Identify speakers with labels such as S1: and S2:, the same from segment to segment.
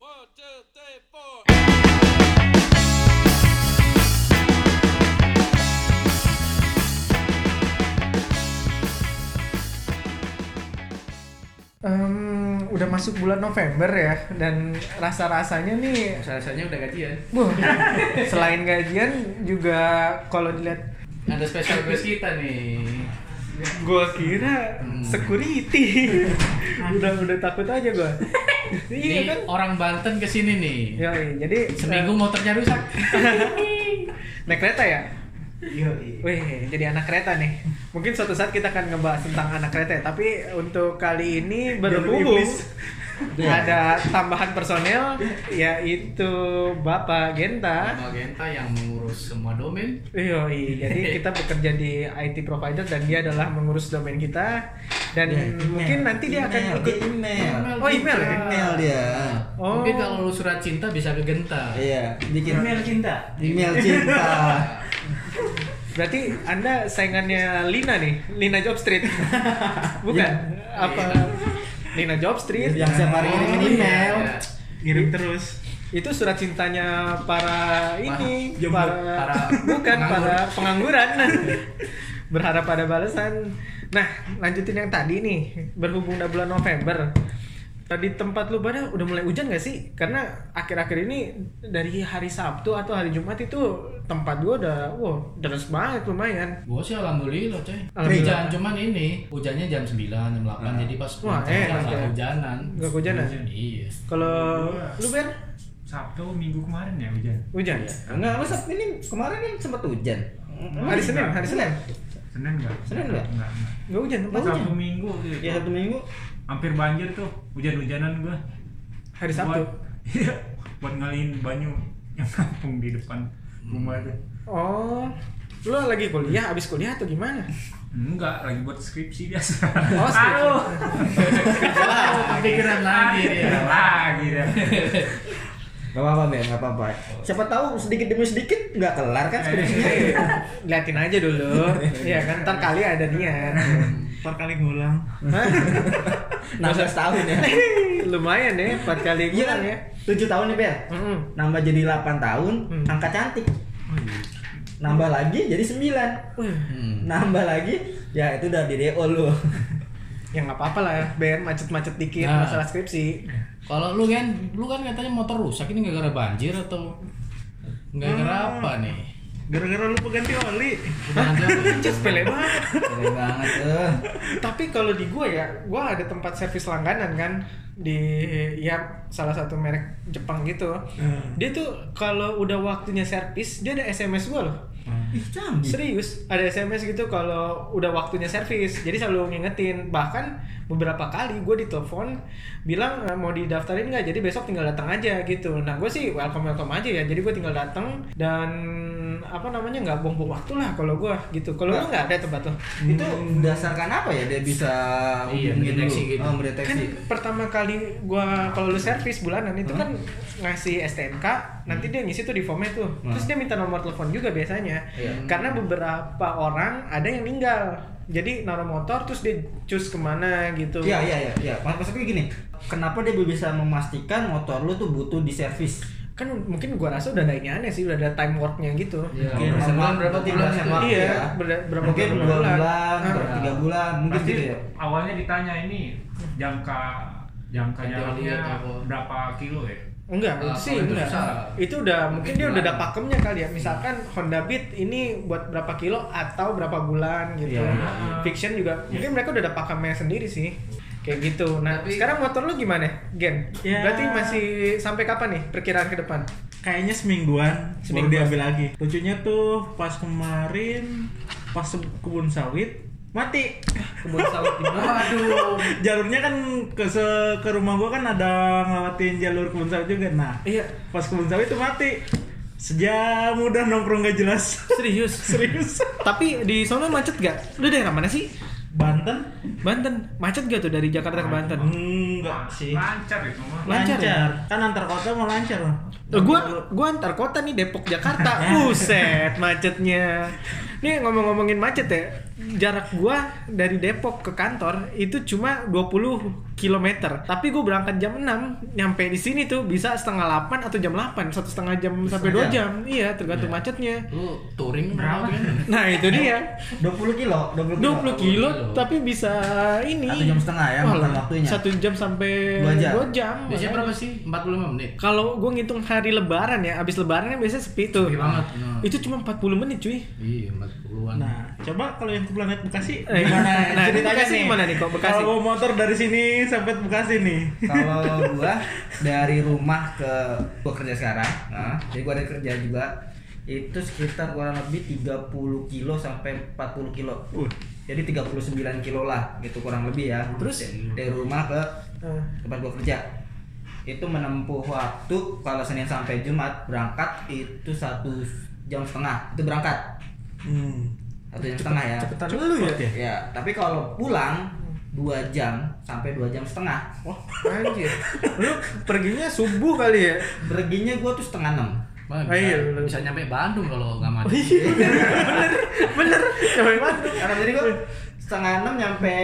S1: two, three, four.
S2: Em, udah masuk bulan November ya dan rasa-rasanya nih
S3: Rasanya udah gajian.
S2: Wah, selain gajian juga kalau dilihat
S3: Ada special guest kita nih.
S2: gua kira security. udah udah takut aja gua. iya
S3: Ini
S2: kan? Iya.
S3: orang Banten kesini nih.
S2: Yoi, jadi
S3: Seminggu motornya rusak.
S2: eh, naik kereta ya? iya. Wih, jadi anak kereta nih. Mungkin suatu saat kita akan ngebahas tentang anak kereta, ya, tapi untuk kali ini berhubung ada tambahan personel yaitu Bapak Genta.
S3: Magenta yang mengurus semua domain.
S2: Iya, jadi kita bekerja di IT provider dan dia adalah mengurus domain kita dan mungkin nanti dia akan
S4: Iya.
S2: ikut
S4: email, iya. dia email.
S2: Oh, email ya?
S4: Email dia.
S2: Oh.
S3: Mungkin kalau lu surat cinta bisa ke Genta.
S4: Iya, bikin
S5: Email cinta.
S4: email cinta.
S2: Berarti Anda saingannya Lina nih, Lina Jobstreet. Bukan? Apa Lina Oh, Jobstreet?
S4: Iya. Yang siapa hari ngirimin email.
S3: iya.
S5: Ngirim terus.
S2: Itu surat cintanya para ini,
S3: Jomblo.
S2: para,
S3: Para
S2: bukan
S3: penganggur.
S2: para pengangguran. Berharap ada balasan. Nah, lanjutin yang tadi nih, berhubung udah bulan November. Di tempat lu pada udah mulai hujan gak sih? Karena akhir-akhir ini dari hari Sabtu atau hari Jumat itu tempat gua udah wow, deras banget lumayan.
S3: Gua sih alhamdulillah coy.
S2: Alhamdulillah. Nah.
S3: Hujan cuman ini hujannya jam 9, jam 8 jadi pas
S2: Wah,
S3: puncaknya
S2: enak
S3: nggak
S2: ya.
S3: hujanan.
S2: Gak hujanan.
S3: Iya.
S2: Kalau lu ber
S5: Sabtu minggu kemarin ya hujan.
S2: hujan.
S4: Enggak, lu Sabtu ini kemarin kan sempat hujan.
S2: Hari Senin,
S5: Iya.
S2: hari Senin.
S5: Senin enggak?
S4: Senin nggak?
S5: Enggak.
S2: Enggak hujan, tempat
S5: enggak. Sabtu
S2: hujan.
S5: minggu gitu.
S4: Ya satu minggu.
S5: Hampir banjir tuh, hujan-hujanan gua.
S2: Hari Sabtu.
S5: Buat- Iya, buat ngalihin banyu yang kampung di depan rumah tuh.
S2: Oh. Lu lagi kuliah, abis kuliah atau gimana?
S5: Enggak, lagi buat skripsi biasa.
S2: Oh, skripsi.
S5: Aduh.
S3: Kepikiran lagi dia.
S5: Aduh, Lagi dia.
S4: Gak apa-apa, Bel, gak apa-apa. Siapa tahu sedikit demi sedikit nggak kelar kan skripsinya.
S2: Liatin aja dulu. Iya kan, ntar kali ada niat.
S5: Empat kali ngulang.
S2: Hah?
S4: 16 tahun ya.
S2: Lumayan ya, empat kali
S4: Iya kan?
S2: kurang ya.
S4: 7 tahun nih, Bel.
S2: Mm-mm.
S4: Nambah jadi 8 tahun,
S2: Hmm.
S4: angka cantik. Nambah lagi jadi 9.
S2: Wih,
S3: Hmm.
S4: Nambah lagi, ya itu udah di DO lu.
S2: Ya nggak apa-apa lah, Ben macet-macet dikit
S3: Nah.
S2: masalah skripsi.
S3: Kalau lu kan, lu kan katanya motor rusak ini gara-gara banjir atau
S2: Hmm.
S3: gara-gara apa nih?
S5: Gara-gara lupa ganti oli.
S2: Anjir, sepele banget.
S4: Keren banget eh. tuh.
S2: Tapi kalau di gua ya, gua ada tempat servis langganan kan di ya salah satu merek Jepang gitu. Dia tuh kalau udah waktunya servis, dia ada SMS gua loh.
S4: Ih,
S3: Hmm.
S4: canggih.
S2: Serius, ada SMS gitu kalau udah waktunya servis. Jadi selalu ngingetin. Bahkan beberapa kali gue ditelepon bilang "Eh, mau didaftarin nggak? Jadi besok tinggal datang aja gitu. Nah gue sih welcome welcome aja ya. Jadi gue tinggal datang dan apa namanya nggak buang-buang waktu lah kalau gue gitu. Kalau lu nggak ada tempat tuh.
S4: itu berdasarkan apa ya dia bisa
S3: Iya,
S4: hubungin
S3: mendeteksi
S4: lu?
S3: gitu.
S4: Oh,
S2: kan
S4: mendeteksi
S2: pertama kali gua kalau lu servis bulanan itu kan ngasih STNK nanti dia ngisi tuh di formnya tuh terus dia minta nomor telepon juga biasanya karena beberapa orang ada yang meninggal jadi naruh motor terus dia cus kemana gitu
S4: iya iya iya iya Mak- maksud gue gini kenapa dia bisa memastikan motor lu tuh butuh di servis
S2: kan mungkin gua rasa udah ada ini aneh sih udah ada time worknya gitu
S3: Iya,
S4: Mungkin
S3: berapa
S4: sama-
S3: bulan, berapa
S4: tiga
S3: bulan
S4: sama-
S3: itu?
S2: Iya,
S4: ya.
S2: ber- berapa
S4: mungkin
S2: bulan,
S4: dua
S2: bulan.
S4: bulan
S2: Ah.
S4: berapa tiga bulan mungkin
S5: Pasti
S4: gitu ya
S5: awalnya ditanya ini jangka jangka
S3: Ganti oli
S5: jalannya
S3: atau apa?
S5: berapa kilo ya?
S2: Enggak,
S3: Ah,
S2: itu sih
S3: kalau itu
S2: enggak.
S3: susah.
S2: Itu udah mungkin dia udah ada
S3: bulan.
S2: pakemnya kali ya. Misalkan Honda Beat ini buat berapa kilo atau berapa bulan gitu.
S4: Iya, iya,
S5: iya.
S2: Fiction juga mungkin mereka udah ada pakemnya sendiri sih. Kayak gitu. Nah,
S3: Tapi-
S2: sekarang motor lu gimana, Gen?
S5: Ya.
S2: Berarti masih sampai kapan nih perkiraan ke depan?
S5: Kayaknya semingguan,
S2: Semingguan.
S5: diambil lagi. Lucunya tuh pas kemarin pas se- kebun sawit mati.
S2: Kebun sawit di mana?
S3: Waduh.
S5: Jalurnya kan ke se- ke rumah gua kan ada ngelawatin jalur kebun sawit juga. Nah,
S2: Iya,
S5: pas kebun sawit tuh mati. Sejam udah nongkrong gak jelas.
S2: serius.
S5: Serius.
S2: Tapi di sana macet gak? Lu daerah mana sih?
S5: Banten?
S2: Banten. Macet gak tuh dari Jakarta ke Banten?
S5: Enggak sih.
S6: lancar itu mah
S2: Lancar
S5: Nah, Lancar. gitu,
S2: ya?
S5: Kan antar kota mau lancar.
S2: Eh, gua gua antar kota nih Depok Jakarta. Buset macetnya. Nih ngomong-ngomongin macet ya. Jarak gua dari Depok ke kantor itu cuma 20 km. kilometer. Tapi gue berangkat jam 6, nyampe di sini tuh bisa setengah 8 atau jam 8, satu setengah jam sampai 2 jam. Iya, tergantung macetnya.
S7: Lu touring
S4: Berapa?
S7: kan?
S2: Nah, itu dia.
S8: Iya. 20 kilo, 20 kilo.
S2: 20 kilo
S7: kilo.
S2: tapi bisa ini.
S8: Satu jam setengah ya,
S2: Wah,
S8: makan waktunya.
S2: Satu jam sampai
S8: Dua
S2: dua
S8: jam.
S2: jam.
S7: Biasanya
S2: ya?
S7: berapa sih? 45 menit.
S2: Kalau gue ngitung hari lebaran ya, abis lebaran kan biasanya sepi tuh.
S7: Sepi banget, nah.
S2: Itu cuma 40 menit cuy.
S7: Iya, 40-an.
S4: Nah, coba kalau yang ke planet Bekasi
S2: Eh,
S4: gimana?
S2: nah, ini
S4: Ceritanya
S2: Bekasi gimana nih, kok Bekasi?
S4: Kalau bawa motor dari sini sampai Bekasi nih.
S8: Kalau gua dari rumah ke gua kerja sekarang, nah, jadi gua ada kerja juga itu sekitar kurang lebih 30 kilo sampai 40 kilo.
S4: Uh.
S8: Jadi 39 kilo lah gitu kurang lebih ya. Terus dari rumah ke
S2: Eh,
S8: tempat gua kerja. Itu menempuh waktu kalau Senin sampai Jumat berangkat itu satu jam setengah itu berangkat
S4: Hmm.
S8: satu jam setengah ya.
S2: Cepetan dulu ya.
S8: Ya, tapi kalau pulang dua jam sampai dua jam setengah.
S2: Wah, anjir. Lu perginya subuh kali ya?
S8: Perginya gua tuh setengah enam.
S7: Wah,
S2: Ah, iya,
S7: bisa,
S2: bener.
S7: bisa nyampe Bandung kalau nggak mati.
S2: Oh, iya, Bener, capek banget.
S8: Karena tadi gua setengah enam nyampe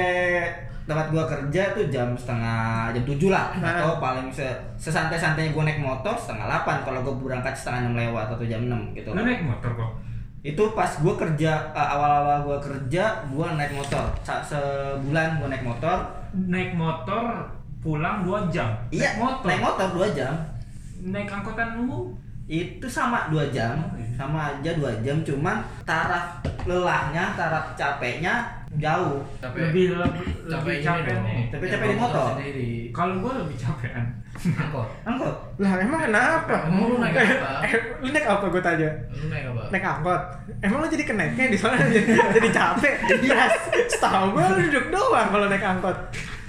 S8: tempat gua kerja tuh jam setengah jam tujuh lah
S2: Nah.
S8: atau paling se sesantai-santainya gua naik motor setengah delapan kalau gua berangkat setengah enam lewat atau jam enam gitu
S5: Nah.
S4: Lu naik motor kok.
S8: itu pas gua kerja eh, awal-awal gua kerja gua naik motor Sa- sebulan gua naik motor
S5: naik motor pulang 2 jam
S8: iya
S5: naik motor
S8: naik motor dua jam
S5: naik angkutan umum
S8: itu sama dua jam
S5: Oh, iya.
S8: sama aja dua jam cuman taraf lelahnya taraf capeknya jauh
S7: Tapi
S5: lebih lebih,
S7: capek
S5: lebih
S7: ini
S5: capek
S7: dong.
S5: nih
S8: Tapi capek di motor.
S7: Sendiri.
S5: kalau gue lebih capean
S7: Angkot.
S8: angkot
S2: Lah, emang kenapa?
S7: Emang lu naik apa?
S2: Eh, lu naik apa gue tanya?
S7: Lu naik apa?
S2: Naik angkot. Emang lu jadi keneknya di sana jadi, jadi capek. Yes. Setahu gue lu duduk doang kalau naik angkot.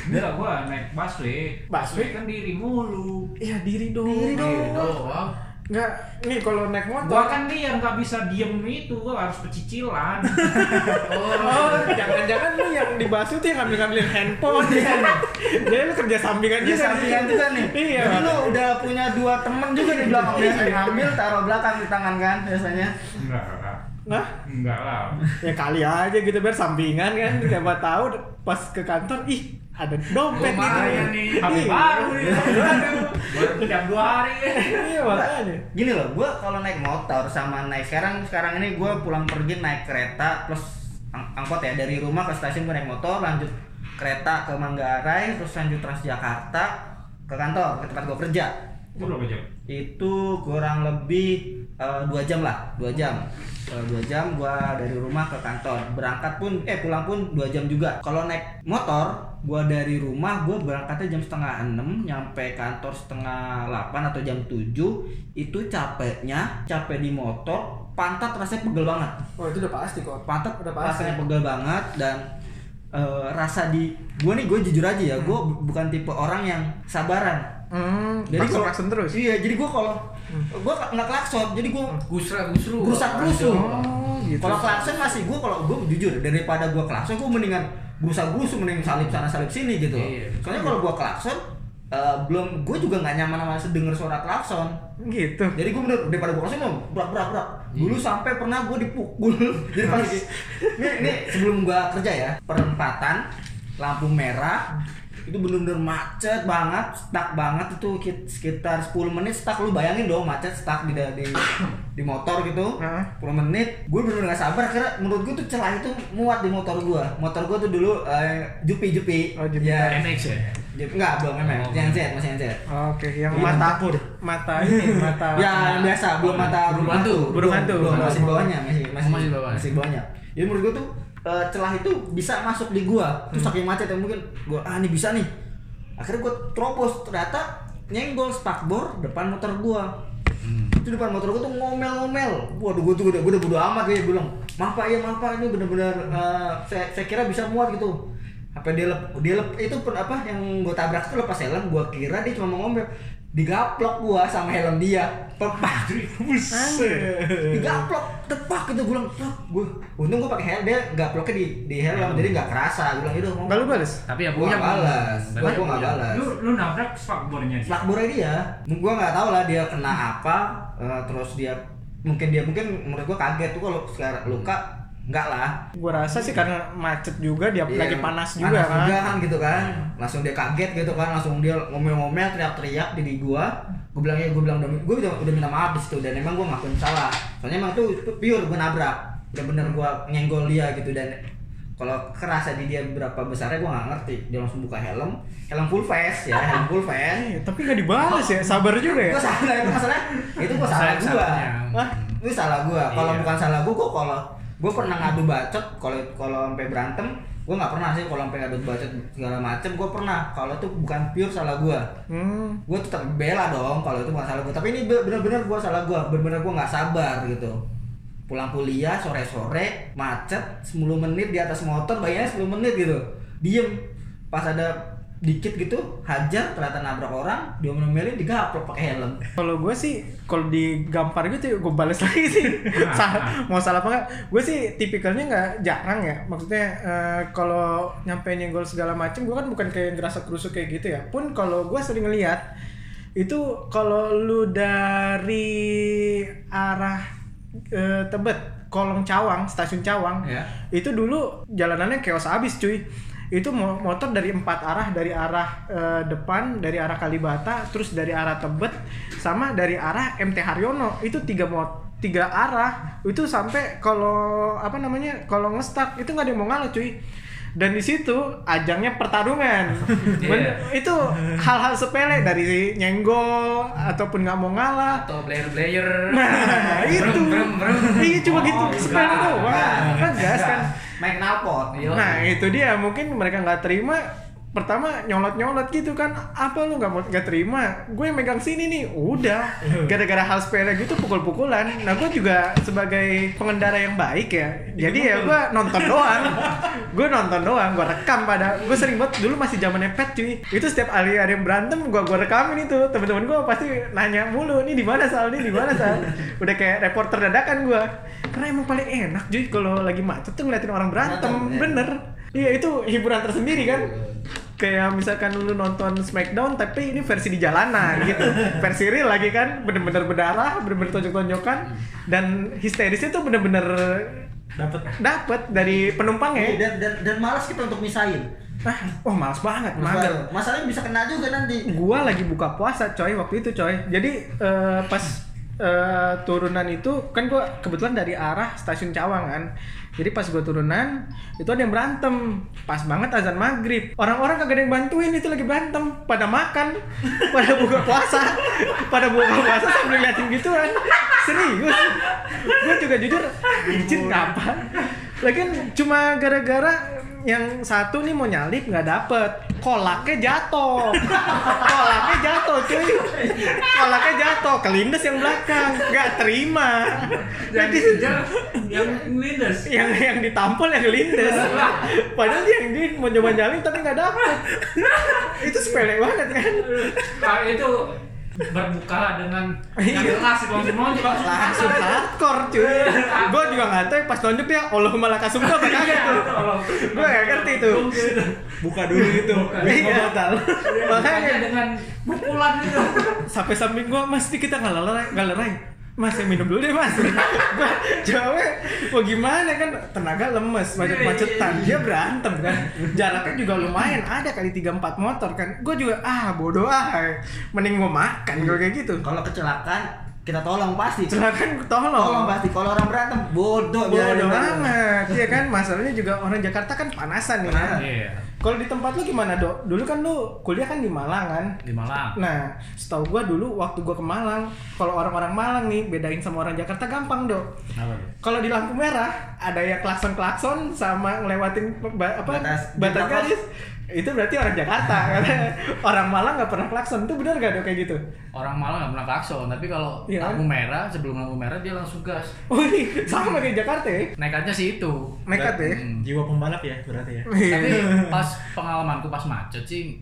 S5: enggak gue naik busway
S2: Busway?
S5: kan diri mulu
S2: Iya, diri dong.
S8: Diri dong.
S7: Diri Iya, doang. Oh,
S2: Nggak, nih kalau naik
S5: gue
S2: motor
S5: kan dia nggak bisa diem itu gue harus pecicilan
S7: Oh,
S2: Oh, jangan-jangan lu yang dibahas itu yang ngambil-ngambilin handphone ya. Jadi lu kerja sampingan
S8: Dia
S2: juga.
S8: sampingan juga nih.
S2: Iya.
S8: Jadi lu udah punya dua temen juga di belakang biasanya ngambil taruh belakang di tangan kan biasanya.
S5: enggak lah
S2: Nah,
S5: enggak lah
S2: ya kali aja gitu biar sampingan kan siapa tahu pas ke kantor ih ada dompet gitu.
S7: Lumayan
S2: nih.
S5: ini HP baru nih baru jam dua hari
S2: Iya, makanya.
S8: Gini loh, gua kalau naik motor sama naik sekarang sekarang ini gua pulang pergi naik kereta plus ang- angkot ya dari rumah ke stasiun gua naik motor lanjut kereta ke Manggarai terus lanjut Transjakarta ke kantor ke tempat gua kerja
S5: gue berapa jam
S8: itu kurang lebih eh, dua jam lah dua jam Kalau dua jam gua dari rumah ke kantor berangkat pun eh pulang pun dua jam juga kalau naik motor gua dari rumah gua berangkatnya jam setengah enam nyampe kantor setengah delapan atau jam tujuh itu capeknya capek di motor pantat rasanya pegel banget
S2: Oh, itu udah pasti kok.
S8: pantat
S2: Udah pasti.
S8: rasanya pegel banget dan eh, rasa di gua nih gue jujur aja ya gua bu- bukan tipe orang yang sabaran
S2: Hmm,
S8: jadi
S2: klakson-
S8: kalau-
S2: klakson terus.
S8: Iya, jadi gua kalau
S7: Hmm.
S8: gua nggak klakson, jadi gua
S7: gusra gusru.
S8: Gerusak gerusu.
S2: Oh, gitu.
S8: Kalau klakson masih gua kalau gua jujur daripada gua klakson gua mendingan gerusak gerusu mending salip sana salip sini gitu.
S7: Iya.
S8: Soalnya kalau gua klakson eh, belum gua juga nggak nyaman sama sedengar suara klakson.
S2: Gitu.
S8: Jadi gua bener daripada gua klakson mau berak berak berak. Dulu sampai pernah gua dipukul. jadi pas ini, ini sebelum gua kerja ya perempatan lampu merah itu bener-bener macet banget, stuck banget itu ki- sekitar 10 menit stuck lu bayangin dong macet stuck di di, di motor gitu
S2: Heeh.
S8: 10 menit gue bener-bener gak sabar karena menurut gue tuh celah itu muat di motor gue motor gue tuh dulu eh, jupi jupi
S2: Oh, Jupi.
S8: ya
S7: NX ya.
S8: jupi nggak belum
S7: Oh,
S8: memang masih NZ masih NZ
S2: Oke, yang
S8: Iya,
S2: mata mata ini, mata.
S8: ya yang biasa belum mata
S7: Burung
S8: burung
S2: hantu.
S8: hantu
S2: Burung
S8: Belum,
S2: hantu.
S8: belum,
S2: Burung
S8: masih
S2: hantu.
S8: bawahnya masih masih
S7: masih bawah.
S8: masih bawahnya jadi menurut gue tuh eh, celah itu bisa masuk di gua terus saking macet yang mungkin gua ah ini bisa nih akhirnya gua terobos ternyata nyenggol spakbor depan motor gua itu depan motor gua tuh ngomel-ngomel waduh gua tuh udah gua udah bodo amat kayak bilang maaf pak ya maaf pak ini bener-bener eh, saya, saya kira bisa muat gitu apa dia lep, dia lep, itu pun apa yang gua tabrak tuh lepas helm gua kira dia cuma mau ngomel digaplok gua sama helm dia pepah digaplok tepak gitu gua bilang "Plak." gua untung gua pakai helm dia gaploknya di di helm jadi nggak kerasa gua bilang itu
S2: Enggak lu balas.
S7: Hmm. Tapi ya
S8: gua
S7: punya
S8: nggak balas
S7: Tapi ya
S8: gua gua nggak
S7: punya.
S8: balas
S5: lu lu nabrak spakbornya dia
S8: Flakbornya dia, gua nggak tahu lah dia kena apa, eh, terus dia mungkin dia mungkin menurut gua kaget tuh kalau sekarang luka Enggak lah.
S2: Gue rasa sih karena macet juga dia
S8: Iya,
S2: lagi panas juga
S8: panas
S2: kan.
S8: juga kan gitu kan langsung dia kaget gitu kan langsung dia ngomel-ngomel teriak-teriak di gua gue bilang ya gue bilang gue udah, udah minta maaf di situ dan emang gue ngakuin salah soalnya emang tuh itu pure gue nabrak udah bener gue nyenggol dia gitu dan kalau kerasa di dia berapa besarnya gue nggak ngerti dia langsung buka helm helm full face ya helm full face
S2: Eh, tapi nggak dibales ya, sabar juga ya.
S8: gue salah itu masalah itu gue salah
S7: Sayang
S8: gue
S7: salahnya.
S2: Hah?
S8: itu salah gua kalau
S7: Iya.
S8: bukan salah gua gua kalau gua pernah ngadu bacot kalau kalau sampai berantem gua nggak pernah sih kalau sampai ngadu bacot segala macem gua pernah kalau itu bukan pure salah gua
S2: Hmm.
S8: gua tetap bela dong kalau itu bukan salah gua tapi ini be- bener-bener gua salah gua bener-bener gua nggak sabar gitu pulang kuliah sore-sore macet 10 menit di atas motor bayangin 10 menit gitu diem pas ada dikit gitu hajar ternyata nabrak orang dia ngomelin digaplok pakai helm
S2: Kalau gue sih, kalau digampar gitu gue balas lagi sih. Sa- mau salah apa enggak? Gue sih tipikalnya nggak jarang ya. Maksudnya eh, kalau nyampe nyenggol segala macem, gue kan bukan kayak ngerasa kerusuk kayak gitu ya. Pun kalau gue sering ngeliat itu kalau lu dari arah eh, Tebet, Kolong Cawang, Stasiun Cawang,
S8: Ya.
S2: itu dulu jalanannya chaos abis cuy itu mo- motor dari empat arah dari arah eh, depan dari arah Kalibata terus dari arah Tebet sama dari arah MT Haryono itu tiga mot tiga arah itu sampai kalau apa namanya kalau ngestak itu nggak ada yang mau ngalah cuy dan di situ ajangnya pertarungan
S5: Iya.
S2: Men- itu hal-hal sepele dari nyenggol ataupun nggak mau ngalah
S5: atau player player
S2: nah itu iya cuma
S3: Oh,
S2: gitu sepele doang kan gas kan
S8: main knalpot iya.
S2: Nah itu dia mungkin mereka nggak terima pertama nyolot nyolot gitu kan apa lu nggak mau nggak terima gue yang megang sini nih udah gara-gara hal sepele gitu pukul-pukulan nah gue juga sebagai pengendara yang baik ya jadi ya gue nonton doang gue nonton doang gue rekam pada gue sering banget dulu masih zamannya pet cuy itu setiap kali ada yang berantem gue gue rekamin itu temen-temen gue pasti nanya mulu ini di mana sal ini di mana sal udah kayak reporter dadakan gue karena emang paling enak cuy kalau lagi macet tuh ngeliatin orang berantem
S8: Berantem, ya.
S2: bener iya itu hiburan tersendiri kan kayak misalkan lu nonton Smackdown tapi ini versi di jalanan gitu versi real lagi kan bener-bener berdarah bener-bener tonjok-tonjokan dan histerisnya tuh bener-bener
S4: Dapat
S2: dapet dari
S8: Iya,
S2: penumpangnya
S8: dan, dan dan malas kita untuk misahin.
S2: ah oh males banget mager
S8: Masalah- Masalahnya bisa kena juga nanti.
S2: gua lagi buka puasa coy waktu itu coy jadi eh, pas eh, turunan itu kan gua kebetulan dari arah stasiun Cawang kan jadi pas gua turunan itu ada yang berantem pas banget azan maghrib orang-orang kagak ada yang bantuin itu lagi berantem pada makan pada buka puasa pada buka puasa sambil ngeliatin gituan serius gua juga jujur izin apa Lagian cuma gara-gara yang satu nih mau nyalip nggak dapet kolaknya jatuh kolaknya jatuh cuy kolaknya jatuh kelindes yang belakang nggak terima
S5: yang
S2: jadi
S5: dikejar yang lindes
S2: yang yang ditampol yang kelindes padahal dia yang dia mau coba nyalip tapi nggak dapet itu sepele banget kan
S5: kalau Nah, itu berbuka dengan yang
S2: Iya.
S5: keras langsung nonjok
S2: langsung hardcore cuy gue juga nggak tahu pas nonjok dia Allah malah kasum gue kagak tuh gue nggak ngerti tuh
S4: buka dulu itu.
S2: Iya.
S5: makanya
S2: makanya
S5: dengan pukulan itu
S2: sampai samping gua mas ini kita nggak lerai nggak lerai mas yang minum dulu deh mas gua jawabnya wah gimana kan tenaga lemes macet macetan dia berantem kan jaraknya juga lumayan ada kali 3-4 motor kan gua juga ah bodoh ah mending gua makan gua kayak gitu
S8: Kalau kecelakaan kita tolong pasti.
S2: silakan
S8: Tolong Iya,
S2: tolong
S8: pasti. Kalau orang berantem bodoh biarin
S2: bodoh
S8: aja.
S2: banget ya kan masalahnya juga orang Jakarta kan panasan nih
S8: Panasan.
S4: Iya.
S2: kalau di tempat lu gimana dok dulu kan lu kuliah kan di Malang kan
S4: Di Malang.
S2: Nah, setahu gua dulu waktu gua ke Malang, kalau orang-orang Malang nih bedain sama orang Jakarta gampang, Dok.
S4: Kenapa tuh?
S2: Kalau di lampu merah ada yang klakson-klakson sama ngelewatin pe- ba- apa
S8: Batas.
S2: batas, garis. Itu berarti orang Jakarta. karena orang Malang nggak pernah klakson. Itu benar gak Dok kayak gitu?
S3: orang malah nggak pernah klakson tapi kalau
S2: Iya.
S3: lampu merah sebelum lampu merah dia langsung gas
S2: Oh, ini sama kayak Jakarta ya.
S3: nekatnya sih itu
S2: Nekat ya.
S3: Hmm.
S4: Jiwa pembalap ya berarti ya.
S2: Iya.
S3: tapi pas pengalamanku pas macet sih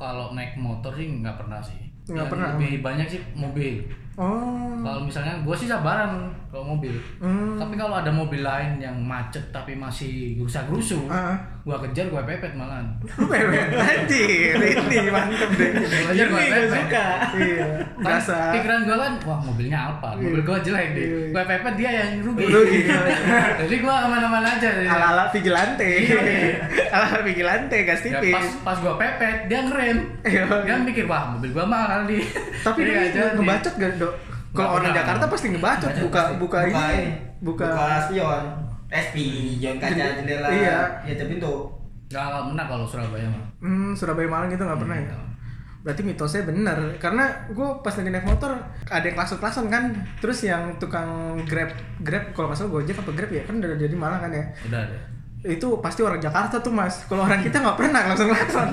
S3: kalau naik motor sih nggak pernah sih
S2: Nggak
S3: Yang
S2: pernah.
S3: lebih banyak sih mobil
S2: Oh.
S3: Kalau misalnya gue sih sabaran kalau mobil.
S2: Hmm.
S3: Tapi kalau ada mobil lain yang macet tapi masih gerusa-gerusu,
S2: Ah.
S3: gua kejar gua pepet malahan.
S2: Lu mewek anjir, ini mantep deh.
S3: Gua
S2: Ini
S3: aja gua
S2: gue
S3: pepet.
S2: suka. Iya.
S3: Kan
S2: Berasa.
S3: pikiran gua kan, wah mobilnya Alfa, mobil gua jelek deh.
S2: Iya.
S3: Gua pepet dia yang rugi.
S2: Rugi. iya.
S3: Jadi gua kemana-mana aja. iya. Ya, deh.
S2: Ala-ala vigilante. Ala-ala vigilante gas
S3: Ya,
S2: tipis.
S3: pas pas gua pepet dia ngerem.
S2: Iya.
S3: Dia mikir wah mobil gua mahal kali.
S2: Tapi
S3: Jadi nggak
S2: dia
S3: Iya, jadi.
S2: ngebacot gak, Dok? Kalau orang
S3: Nggak,
S2: Jakarta
S3: nggak.
S2: pasti ngebacot,
S3: Ngebacot
S2: buka
S3: pasti.
S2: buka ini, buka
S8: buka spion eh spion kaca
S2: Jendela.
S8: jendela
S2: Iya.
S8: ya tapi pintu
S3: Nggak nggak pernah kalau Surabaya mah.
S2: Hmm, Surabaya Malang gitu nggak pernah ya?
S3: nggak.
S2: Berarti mitosnya benar karena gue pas lagi naik motor ada yang klason-klason kan, terus yang tukang grab grab kalau nggak salah gojek apa grab ya kan udah jadi Malang kan ya,
S3: Udah deh.
S2: itu pasti orang Jakarta tuh mas, kalau orang kita nggak pernah klason-klason,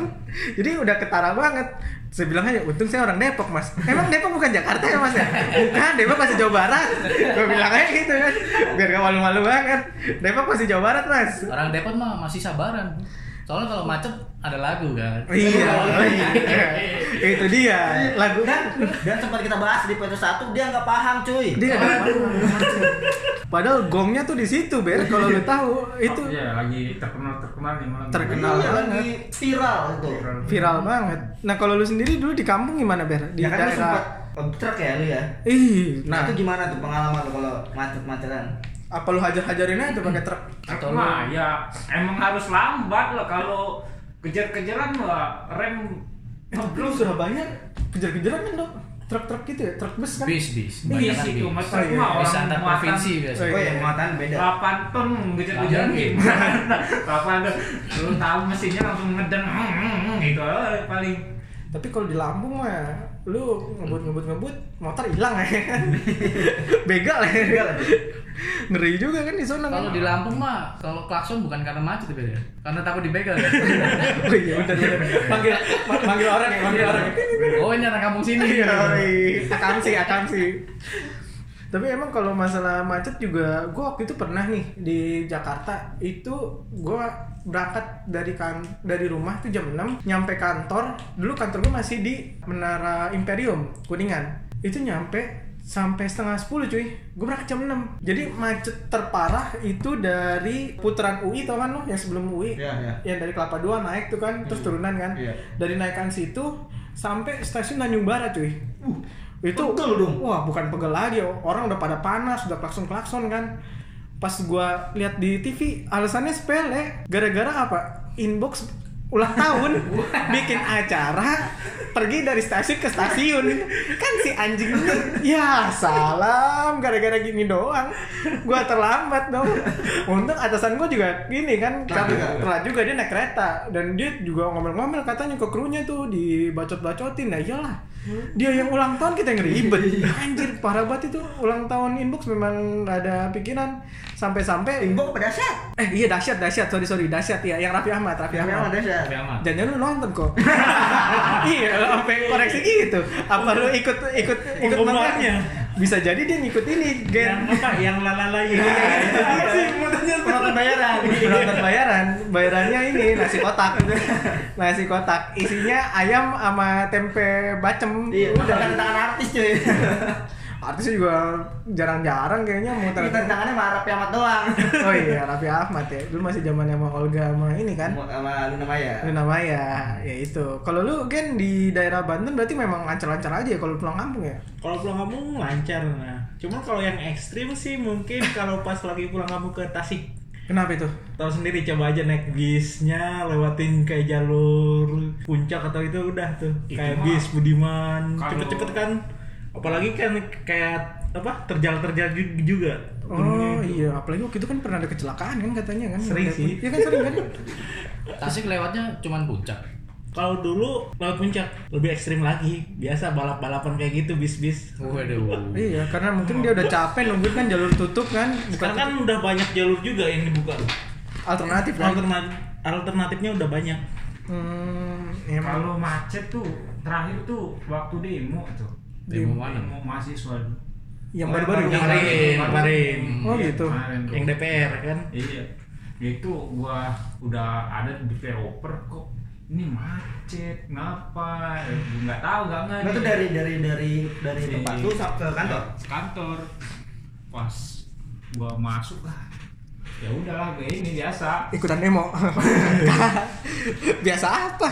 S2: jadi udah ketara banget. Saya bilang aja, untung saya orang Depok mas. Emang Depok bukan Jakarta ya mas ya? Bukan, Depok masih Jawa Barat. Gue bilang aja gitu kan, biar gak malu-malu banget. Depok masih Jawa Barat mas.
S3: Orang Depot mah masih sabaran. Soalnya kalau macet ada lagu kan.
S2: Iya, iya. itu dia lagu kan
S8: dan sempat kita bahas di episode satu dia nggak paham cuy
S2: Dia nggak ada Padahal gongnya tuh di situ, Ber. Kalau lu tahu itu
S5: Oh,
S4: Iya, lagi terkenal-terkenal nih malam.
S2: Terkenal.
S8: Iya,
S2: banget.
S8: lagi viral itu
S2: viral banget. Nah, kalau lu sendiri dulu di kampung gimana, Ber? Di
S8: ya kan
S2: daerah-
S8: lu sempat truk ya lu ya
S2: Ih, nah
S8: nah itu gimana tuh pengalaman lu kalau macet-macetan
S2: apa lu hajar-hajarin aja pakai truk?
S3: Atau lu-
S4: Nah, ya emang harus lambat lah kalau kejar-kejaran lah rem
S2: Lu Surabaya kejar-kejaran kan, Dok? Truk-truk gitu ya, truk bus kan?
S3: Bis bis.
S4: bis
S3: kebanyakan
S4: itu mas
S3: bis.
S4: terkenal
S2: Oh, iya.
S4: orang
S3: Bis antar
S4: muatan
S3: provinsi biasa.
S2: Oh,
S8: oh
S2: iya.
S8: ya muatan beda
S4: 8 ton kejar-kejaran
S3: Langsung.
S4: gimana? 8 ton. Lu tahu mesinnya langsung ngeden gitu eh, paling.
S2: Tapi kalau di Lampung mah lu ngebut-ngebut-ngebut motor hilang ya. Begal ya. Ngeri juga kan di sana.
S3: Kalau
S2: kan?
S3: di Lampung mah kalau klakson bukan karena macet ya, Bel, ya. Karena takut dibegal. ya.
S2: Oh iya, udah udah. Panggil ma- manggil orang ya, manggil orang.
S3: oh ini anak kampung sini.
S2: Iya, akan sih, akan sih. Tapi emang kalau masalah macet juga, gue waktu itu pernah nih di Jakarta itu gue berangkat dari kan dari rumah tuh jam 6 nyampe kantor dulu kantor gue masih di Menara Imperium Kuningan itu nyampe sampai setengah 10 cuy gue berangkat jam 6 jadi macet terparah itu dari putaran UI tau kan lo yang sebelum UI
S8: Iya, iya.
S2: yang dari Kelapa Dua naik tuh kan terus turunan kan
S8: Iya.
S2: dari naikan situ sampai stasiun Tanjung Barat cuy
S8: Uh,
S2: itu
S8: pegel dong.
S2: wah bukan pegel lagi oh. orang udah pada panas udah klakson klakson kan pas gua lihat di TV alasannya sepele gara-gara apa inbox ulang tahun bikin acara pergi dari stasiun ke stasiun kan si anjing ini ya salam gara-gara gini doang gua terlambat dong untung atasan gua juga gini kan
S8: Telat juga. ya?
S2: karena- telat juga dia naik kereta dan dia juga ngomel-ngomel katanya ke krunya tuh dibacot-bacotin nah iyalah
S8: Hmm.
S2: dia yang ulang tahun kita yang ribet anjir parah banget itu ulang tahun inbox memang nggak ada pikiran sampai-sampai
S8: timbok pada saat
S2: eh iya dahsyat dahsyat sorry sorry dahsyat ya yang Raffi Ahmad Raffi
S8: yang
S2: Ahmad
S8: memang ada saat
S3: Tapi aman.
S2: jangan lu nonton kok iya lu sampai koreksi gitu apa lu ikut ikut ikut
S4: Pengumumannya.
S2: nonton? bisa jadi dia ngikut ini
S4: Yang
S2: gen
S4: apa? Yang lalala ya.
S2: penonton bayaran penonton bayaran bayarannya ini nasi kotak nasi kotak isinya ayam sama tempe bacem
S8: iya
S2: Udah.
S8: tangan tangan artis cuy
S2: artisnya juga jarang-jarang kayaknya muter
S8: tangan tangannya sama Raffi Ahmad doang
S2: oh iya Raffi Ahmad ya dulu masih zaman sama Olga sama ini kan
S8: sama Luna Maya
S2: Luna Maya ya itu kalau lu kan di daerah Banten berarti memang lancar-lancar aja ya kalau pulang kampung ya
S4: Kalau pulang kampung lancar nah. Cuman kalau yang ekstrim sih mungkin kalau pas lagi pulang kampung ke Tasik
S2: kenapa itu
S4: tahu sendiri coba aja naik bisnya lewatin kayak jalur puncak atau itu udah tuh
S5: Itu
S4: kayak
S5: mah.
S4: bis Budiman
S5: Kalau-
S4: cepet-cepet kan apalagi kan kayak apa terjal-terjal ju- juga
S2: Oh iya, apalagi waktu itu kan pernah ada kecelakaan kan katanya kan?
S4: Sering sih.
S2: Iya kan sering kan?
S3: Tasik lewatnya cuman puncak.
S4: kalau dulu lewat puncak lebih ekstrim lagi biasa balap-balapan kayak gitu bis-bis
S3: Waduh.
S2: iya, karena mungkin dia udah capek nungguin kan jalur tutup kan, bukan
S4: sekarang kan udah banyak jalur juga yang dibuka
S2: alternatif kan?
S4: Alterna- alternatifnya udah banyak
S2: Hmm, emang
S5: Kalau macet tuh terakhir tuh waktu demo tuh.
S3: Demo mana?
S5: Demo mahasiswa.
S2: yang baru-baru
S5: Yang
S2: kemarin.
S4: kemarin
S5: iya.
S4: kemarin
S2: Oh gitu.
S5: Kemarin tuh.
S4: yang DPR kan
S5: Iya. Itu gua udah ada di flyover kok ini macet ngapa eh, gua nggak tahu nggak nggak
S8: Nah, itu
S5: nih.
S8: dari dari dari dari
S5: Di-
S8: tempat lu sa- ke kantor.
S5: Ke kantor pas gua masuk lah ya udahlah kayak ini biasa
S2: Ikutan demo. Biasa apa?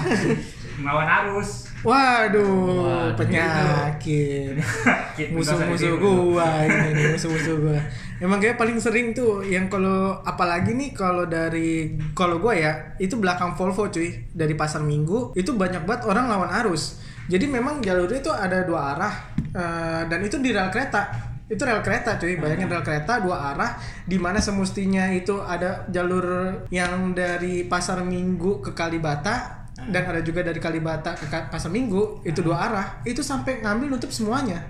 S5: melawan arus
S2: Waduh,
S3: Waduh.
S2: penyakit.
S5: Penyakit,
S2: Musuh-musuh
S5: nggak usah ditiru.
S2: gua ini nih, musuh-musuh gua. Emang kayak paling sering tuh yang kalau apalagi nih kalau dari kalau gua ya, itu belakang Volvo cuy, dari pasar Minggu itu banyak banget orang lawan arus. Jadi memang jalurnya itu ada dua arah eh, dan itu di rel kereta. Itu rel kereta cuy, bayangin rel kereta dua arah di mana semestinya itu ada jalur yang dari pasar Minggu ke Kalibata dan ada juga dari Kalibata ke Ka- Pasar Minggu itu dua arah itu sampai ngambil nutup semuanya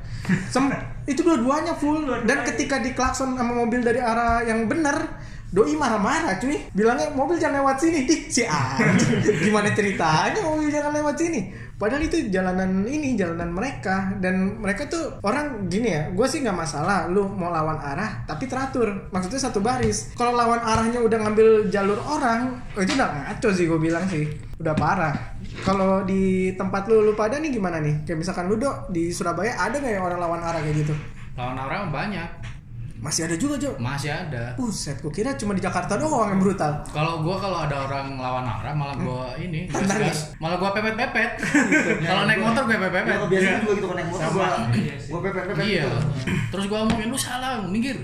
S2: Sem- itu dua-duanya full dan ketika diklakson sama mobil dari arah yang benar doi marah-marah cuy bilangnya mobil jangan lewat sini ih si anjing gimana ceritanya mobil jangan lewat sini padahal itu jalanan ini jalanan mereka dan mereka tuh orang gini ya gue sih nggak masalah lu mau lawan arah tapi teratur maksudnya satu baris kalau lawan arahnya udah ngambil jalur orang oh, itu udah ngaco sih gue bilang sih udah parah. Kalau di tempat lu lu pada nih gimana nih? Kayak misalkan lu Dok, di Surabaya ada nggak yang orang lawan arah kayak gitu?
S3: Lawan orang banyak,
S2: Masih ada juga Jo.
S3: masih ada.
S2: Buset, gua kira cuma di Jakarta doang yang brutal.
S3: Kalau gua kalau ada orang lawan arah malah gua ini
S2: Tantang
S3: gas-gas. Malah gua pepet-pepet. Kalau naik motor gua
S8: Ya,
S3: pepet-pepet.
S8: biasanya juga gitu konek motor. Gua, gua PPP
S3: Iya. Terus gua ngomongin lu salah, minggir.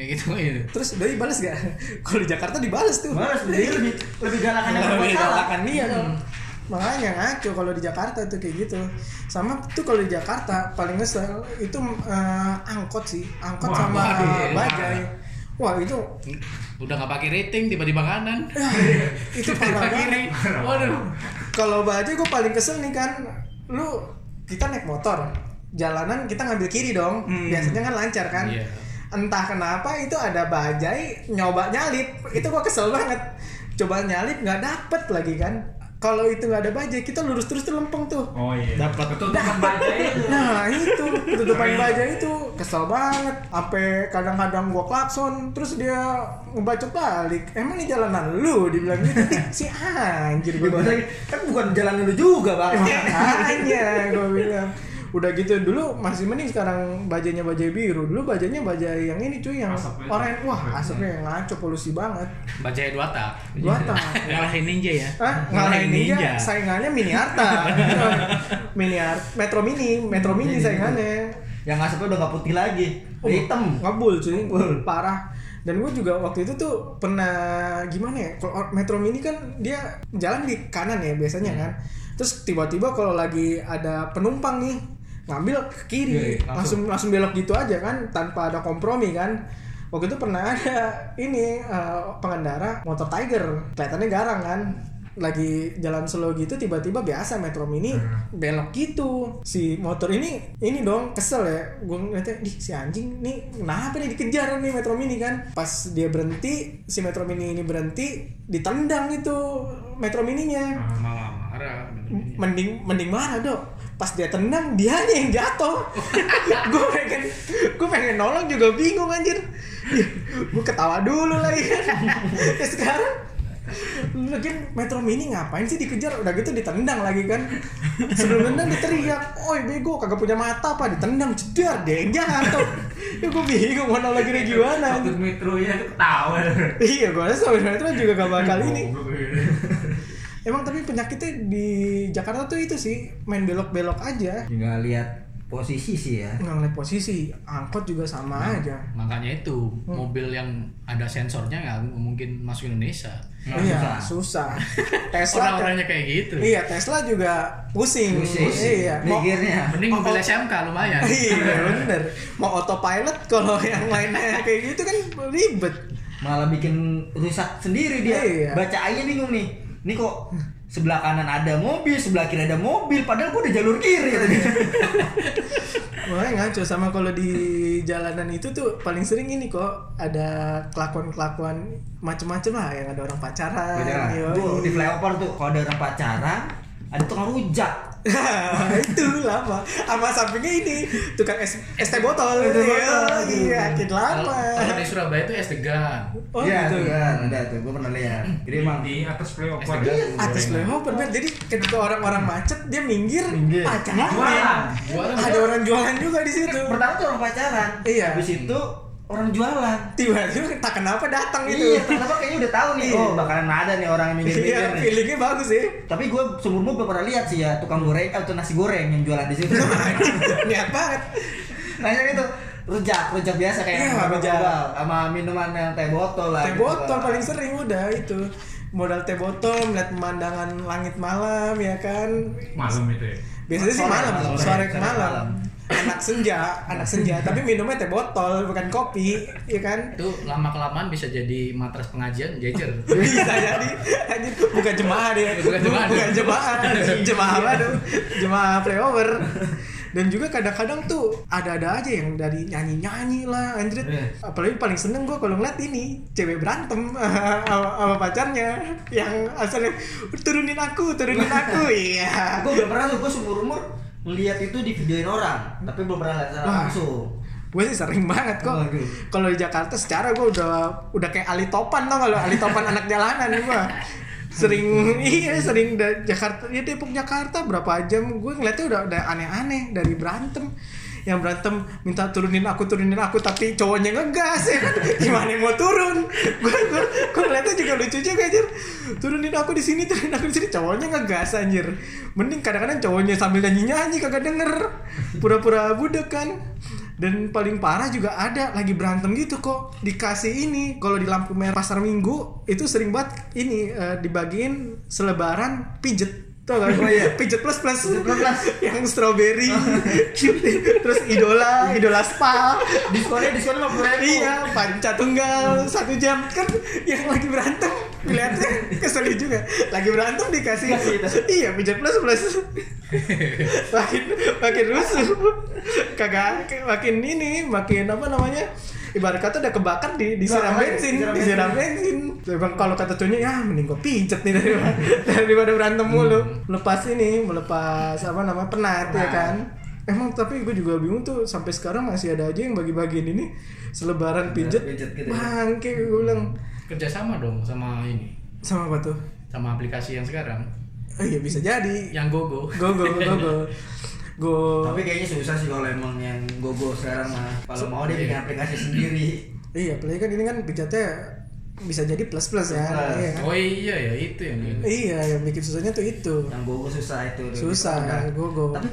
S3: Kayak gitu gitu.
S2: Terus doi balas gak? Kalau di Jakarta dibales tuh. Iya,
S8: Balas jadi lebih lebih galakan yang
S2: Lebih
S8: berbuat salah.
S2: galakan dia dong. kan? Makanya ngaco kalau di Jakarta tuh kayak gitu. Sama tuh kalau di Jakarta paling ngesel itu eh, angkot sih, angkot
S5: Wah,
S2: sama
S3: waduh,
S2: eh, bajai. Wah itu
S3: Udah nggak pakai rating tiba-tiba kanan.
S2: itu
S3: tiba-tiba
S2: parah banget.
S3: kiri. Waduh.
S2: kalau baja gue paling kesel nih kan lu kita naik motor jalanan kita ngambil kiri dong biasanya kan lancar kan
S3: Iya.
S2: entah kenapa itu ada bajai nyoba nyalip itu gue kesel banget coba nyalip nggak dapet lagi kan kalau itu nggak ada bajai kita lurus terus tuh lempeng tuh
S5: oh iya
S4: Dapat.
S5: ketutupan baca itu
S2: Nah itu ketutupan baja itu kesel banget. Apa kadang-kadang gua klakson terus dia ngebacot balik. Emang ini jalanan lu dibilang gitu Ih, si anjir
S8: Jadi
S2: gua
S8: bahasa
S2: bilang.
S8: kan bukan jalan lu juga, Bang.
S2: Makanya gua bilang udah gitu dulu masih mending sekarang bajanya bajai biru dulu bajanya bajai yang ini cuy yang
S5: Asapnya.
S2: orang wah asapnya yang ngaco polusi banget
S3: Bajai dua tak.
S2: gua tak
S4: Ngalahin ninja ya.
S2: Hah? Ngalahin
S4: Ngalahin
S2: Ninja,
S4: Ninja.
S2: saingannya Mini Arta Mini Arta, Metro Mini, Metro Mini saingannya
S8: Yang asapnya udah nggak putih lagi, udah
S2: Oh,
S8: hitam.
S2: ngebul cuy parah dan gue juga waktu itu tuh pernah gimana ya kalau or- metro mini kan dia jalan di kanan ya biasanya kan terus tiba-tiba kalau lagi ada penumpang nih ngambil ke kiri langsung. langsung belok gitu aja kan tanpa ada kompromi kan waktu itu pernah ada ini eh, pengendara motor tiger kelihatannya garang kan lagi jalan slow gitu tiba-tiba biasa metro mini belok gitu si motor ini ini dong kesel ya gue ngeliatnya dih si anjing nih kenapa nih dikejar nih metro mini kan pas dia berhenti si metro mini ini berhenti ditendang itu metro mininya
S3: Malah marah.
S2: Iya. mending mending marah dok pas dia tendang dianya yang jatuh gue pengen gue pengen nolong juga bingung anjir gue ketawa dulu lagi kan ya sekarang Lagian Metro Mini ngapain sih dikejar? Udah gitu ditendang lagi kan. Sebelum nendang diteriak, "Oi bego, kagak punya mata apa?" Ditendang jedar, deng jatuh. Ya gue bingung mau nolonginnya gimana. anjir.
S5: satu metronya tuh ketawa
S2: Iya, gue rasa Metro juga gak bakal ini.
S5: Goblok. iya.
S2: Emang tapi penyakitnya di Jakarta tuh itu sih main belok-belok aja.
S8: Tinggal lihat posisi sih ya.
S2: Nggak ngeliat posisi, angkot juga sama aja.
S3: Makanya itu
S2: Hmm.
S3: mobil yang ada sensornya nggak mungkin masuk Indonesia.
S2: Iya, susah. Tesla kan?
S3: Orang-orangnya kayak gitu.
S2: Iya, Tesla juga pusing. Iya, mau-
S8: Mikirnya.
S3: Mending mobil
S2: Oh, oh.
S3: SMK lumayan.
S2: Iya bener Mau autopilot kalau yang lainnya kayak gitu kan ribet
S8: malah bikin rusak sendiri dia.
S2: Iya.
S8: Baca aja bingung nih. Ini kok sebelah kanan ada mobil, sebelah kiri ada mobil, padahal gua udah jalur kiri.
S2: Iya,
S8: kata dia.
S2: Makanya ngaco sama kalau di jalanan itu tuh paling sering ini kok Ada kelakuan-kelakuan macem-macem lah Yang ada orang pacaran
S8: Beda lah.
S2: yoi.
S8: Tuh di flyover tuh kalau ada orang pacaran, ada tukang rujak.
S2: itu lama sama sampingnya ini tukang es es teh botol
S8: Es teh
S2: Iya,
S8: botol.
S2: iya makin lama
S3: Kalau di Surabaya itu es degan.
S2: oh
S8: Iya,
S2: gitu
S8: tuh kan, ada tuh, gue pernah lihat. Jadi emang
S5: di atas flyover
S3: STK.
S5: Iya.
S2: atas flyover Ben. jadi ketika orang-orang macet dia minggir,
S8: Minggir.
S2: pacaran
S8: Jualan.
S3: Jualan.
S2: ada orang jualan juga di situ
S8: pertama tuh orang pacaran,
S2: Iya.
S8: habis itu orang jualan.
S2: tiba-tiba tak kenapa datang
S8: Iya,
S2: itu
S8: kenapa kayaknya udah tahu nih,
S2: Iya.
S8: oh bakalan ada nih orang yang minggir-minggir
S2: iya
S8: nih.
S2: feelingnya bagus sih
S8: Tapi gue seumurmu gue pernah lihat sih ya tukang goreng atau nasi goreng yang jualan di situ.
S2: Iya. niat banget
S8: Nanya itu rujak, rujak biasa kayak
S2: Iya,
S8: yang orang
S2: rujak.
S8: jual, sama minuman yang teh botol lah.
S2: teh
S8: gitu
S2: botol
S8: lah.
S2: paling sering udah itu modal teh botol melihat pemandangan langit malam ya kan
S5: malam itu ya
S2: biasanya sih
S8: Sore,
S2: malam
S8: malam,
S2: sore
S8: sore,
S2: ke
S8: sore
S2: malam
S8: malam.
S2: anak senja anak senja tapi minumnya teh botol bukan kopi ya kan
S3: Itu lama kelamaan bisa jadi matras pengajian jejer.
S2: bisa jadi anjir bukan jemaah deh
S3: Bukan jemaah.
S2: bukan jemaah jemaah apa tuh jemaah flyover dan juga kadang-kadang tuh ada-ada aja yang dari nyanyi-nyanyi lah anjir
S3: Eh.
S2: apalagi paling seneng gue kalau ngeliat ini cewek berantem sama sama pacarnya yang asalnya turunin aku turunin aku iya
S8: Gue Nah, belum pernah tuh, gue seumur umur melihat itu di videoin orang, tapi belum pernah lihat secara
S2: Wah.
S8: langsung.
S2: gue sih sering banget kok
S8: Waduh.
S2: kalau di Jakarta secara gue udah udah kayak Ali Topan tau kalau Ali Topan anak jalanan gue sering iya sering da- Jakarta ya Depok Jakarta berapa jam gue ngeliatnya udah udah aneh-aneh dari berantem yang berantem minta turunin aku turunin aku tapi cowoknya ngegas ya kan gimana yang mau turun gue gue gue ngeliatnya juga lucu juga anjir turunin aku di sini turunin aku di sini cowoknya ngegas anjir mending kadang-kadang cowoknya sambil nyanyi nyanyi kagak denger pura-pura budek kan dan paling parah juga ada lagi berantem gitu kok dikasih ini kalau di lampu merah pasar minggu itu sering banget ini eh, dibagiin selebaran pijet tau gak? Oh, iya. pijet plus plus, Oh. yang strawberry terus idola idola spa
S8: Diskonnya diskonnya lima
S2: iya panca tunggal satu jam kan yang lagi berantem kelihatannya keselin juga lagi berantem dikasih
S8: Kasih itu.
S2: iya pijat plus plus makin makin rusuh kagak makin ini makin apa namanya ibarat kata udah kebakar di disiram
S8: Nah,
S2: bensin
S8: disiram
S2: disiram bensin Bang kalau kata cowoknya ya mending gua pijet nih daripada, daripada berantem mulu
S8: Hmm.
S2: lepas ini melepas apa nama penat ya kan Emang tapi gue juga bingung tuh sampai sekarang masih ada aja yang bagi-bagiin ini selebaran pijet.
S8: pijet gitu ya.
S2: Bangke gue bilang
S3: Hmm. Kerjasama dong sama ini,
S2: sama apa tuh?
S3: sama aplikasi yang sekarang,
S2: Oh iya bisa jadi.
S3: yang GoGo.
S2: Go go go go. Go.
S8: Ya. Tapi kayaknya susah sih kalau emang yang gogo sekarang mah. Kalau mau dia bikin aplikasi sendiri.
S2: Iya, apalagi kan ini kan pijatnya bisa jadi plus-plus ya.
S8: Plus.
S2: Iya kan?
S3: Oh iya ya itu yang ini.
S2: Iya, yang bikin susahnya tuh itu.
S8: Yang gogo susah itu.
S2: Susah,
S8: Udah.
S2: gogo.
S8: Tapi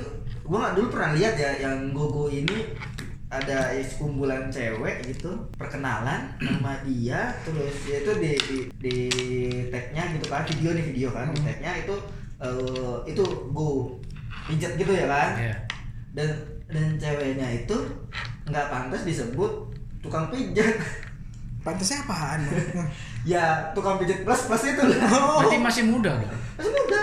S8: gua nggak dulu pernah lihat ya yang gogo ini ada kumpulan cewek gitu perkenalan sama dia terus ya itu di di, di tagnya gitu kan video nih video kan
S2: Hmm.
S8: di tagnya itu eh, itu go pijat gitu ya kan
S3: Iya.
S8: dan dan ceweknya itu nggak pantas disebut tukang pijat
S2: Pantasnya apaan?
S8: ya tukang pijat plus plus itu lah
S2: oh.
S3: Berarti masih muda loh.
S8: masih muda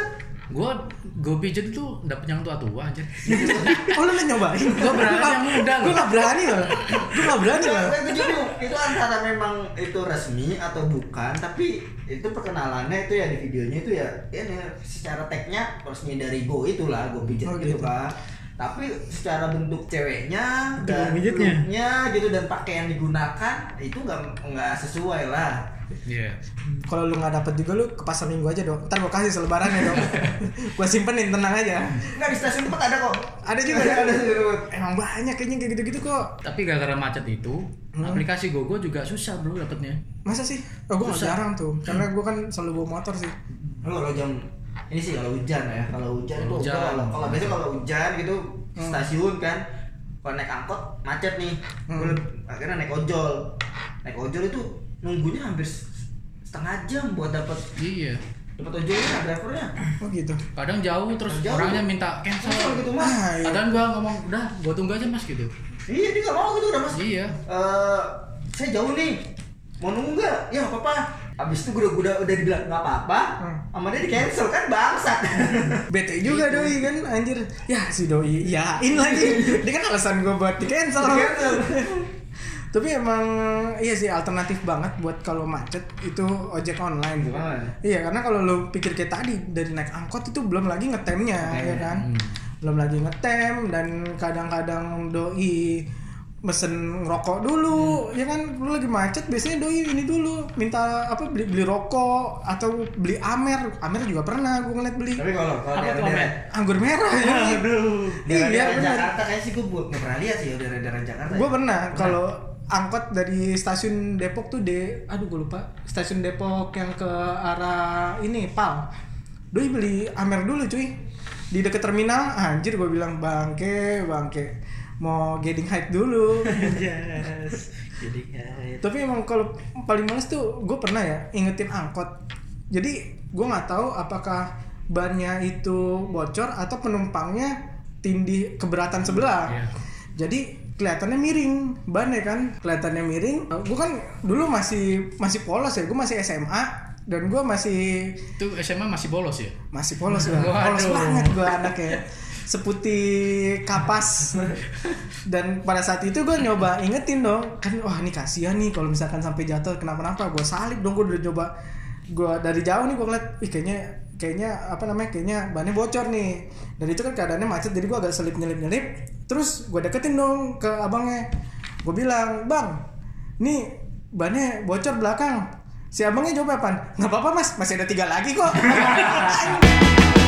S3: Gua gua pijet itu dapet yang tua-tua anjir.
S2: Oh lu udah nyobain?
S3: Gua berani yang muda
S2: Gue
S3: loh.
S2: gak berani loh Gue gak berani
S8: Nah,
S2: loh
S8: itu juga- itu antara memang itu resmi atau bukan tapi itu perkenalannya itu ya di videonya itu ya ini secara tagnya resmi dari go itulah go pijat
S2: Oh,
S8: gitu
S2: gitu.
S8: kan tapi secara bentuk ceweknya
S9: Bentuk
S8: dan
S9: pijatnya.
S8: looknya gitu dan pakaian digunakan itu nggak nggak sesuai lah
S3: Iya.
S2: Kalau lu gak dapet juga lu ke pasar minggu aja dong Ntar gue kasih selebaran ya dong Gue simpenin tenang aja
S8: nggak di stasiun tempat ada kok
S2: Ada juga ya?
S8: ada juga.
S2: Emang banyak kayaknya kayak gitu-gitu kok
S3: Tapi gara-gara macet itu, aplikasi GoGo juga susah bro dapetnya.
S2: Masa sih? Oh gue
S3: Susah.
S2: jarang tuh Karena gue kan selalu bawa motor sih
S8: Lu kalau jam ini sih kalau hujan ya, kalau hujan itu
S3: Kalau hujan.
S8: enggak lah. Kalau biasanya kalau hujan gitu
S10: Hmm.
S8: stasiun kan, kalau naik angkot macet nih.
S10: Hmm.
S8: Gua Akhirnya naik ojol. Naik ojol itu nunggunya hampir s- setengah jam buat dapat
S3: Iya.
S8: dapat ojolnya drivernya.
S2: Oh gitu
S3: Kadang jauh terus
S8: Jauh.
S3: orangnya minta
S8: Kesel
S3: cancel.
S8: gitu mas.
S2: Ah, iya.
S3: Kadang gua ngomong, udah gua tunggu aja mas gitu.
S8: Iya dia nggak mau gitu udah mas.
S3: Iya.
S8: Eh, saya jauh nih. Mau nunggu nggak? Ya apa apa. Abis itu gue udah, udah, udah dibilang nggak apa-apa,
S10: Hmm.
S8: sama dia di cancel kan bangsat.
S2: Bete juga doi kan anjir Ya si doi iyain lagi Dia kan alasan gue buat di cancel
S8: Di-cancel.
S2: Tapi emang iya sih alternatif banget buat kalau macet itu ojek online.
S8: online.
S2: Iya, karena kalau lu pikir kayak tadi dari naik angkot itu belum lagi ngetemnya ya kan. Belum lagi ngetem dan kadang-kadang doi mesen ngerokok dulu ya kan lu lagi macet biasanya doi ini dulu minta apa beli beli rokok atau beli amer amer juga pernah gue ngeliat beli
S8: Tapi kalau kalau
S10: Apa tuh,
S8: daerah-daerah
S2: anggur merah ya
S10: Aduh.
S2: Iya,
S8: daerah
S2: bener.
S8: Jakarta kayak sih gue nggak pernah lihat sih ya daerah-daerah Jakarta.
S2: gue pernah kalau angkot dari stasiun Depok tuh de aduh gue lupa stasiun Depok yang ke arah ini Pal doi beli amer dulu cuy di deket terminal anjir gue bilang bangke bangke mau getting hype dulu
S10: Yes. Jadi guys.
S2: Iya. tapi emang kalau paling males tuh gue pernah ya ingetin angkot jadi gue nggak tahu apakah bannya itu bocor atau penumpangnya tindih keberatan sebelah jadi kelihatannya miring bannya kan kelihatannya miring gue kan dulu masih masih polos ya gue masih SMA dan gue masih
S3: Itu SMA masih bolos ya?
S2: masih polos gue polos banget gue anaknya seputih kapas dan pada saat itu gue nyoba ingetin dong kan wah ini kasihan nih kalau misalkan sampai jatuh kenapa-napa gue salib dong gue udah coba gue dari jauh nih gue ngeliat ih kayaknya kayaknya apa namanya kayaknya bannya bocor nih dan itu kan keadaannya macet jadi gue agak selip nyelip nyelip terus gue deketin dong ke abangnya gue bilang bang nih bannya bocor belakang si abangnya jawab apa nggak apa-apa mas masih ada tiga lagi kok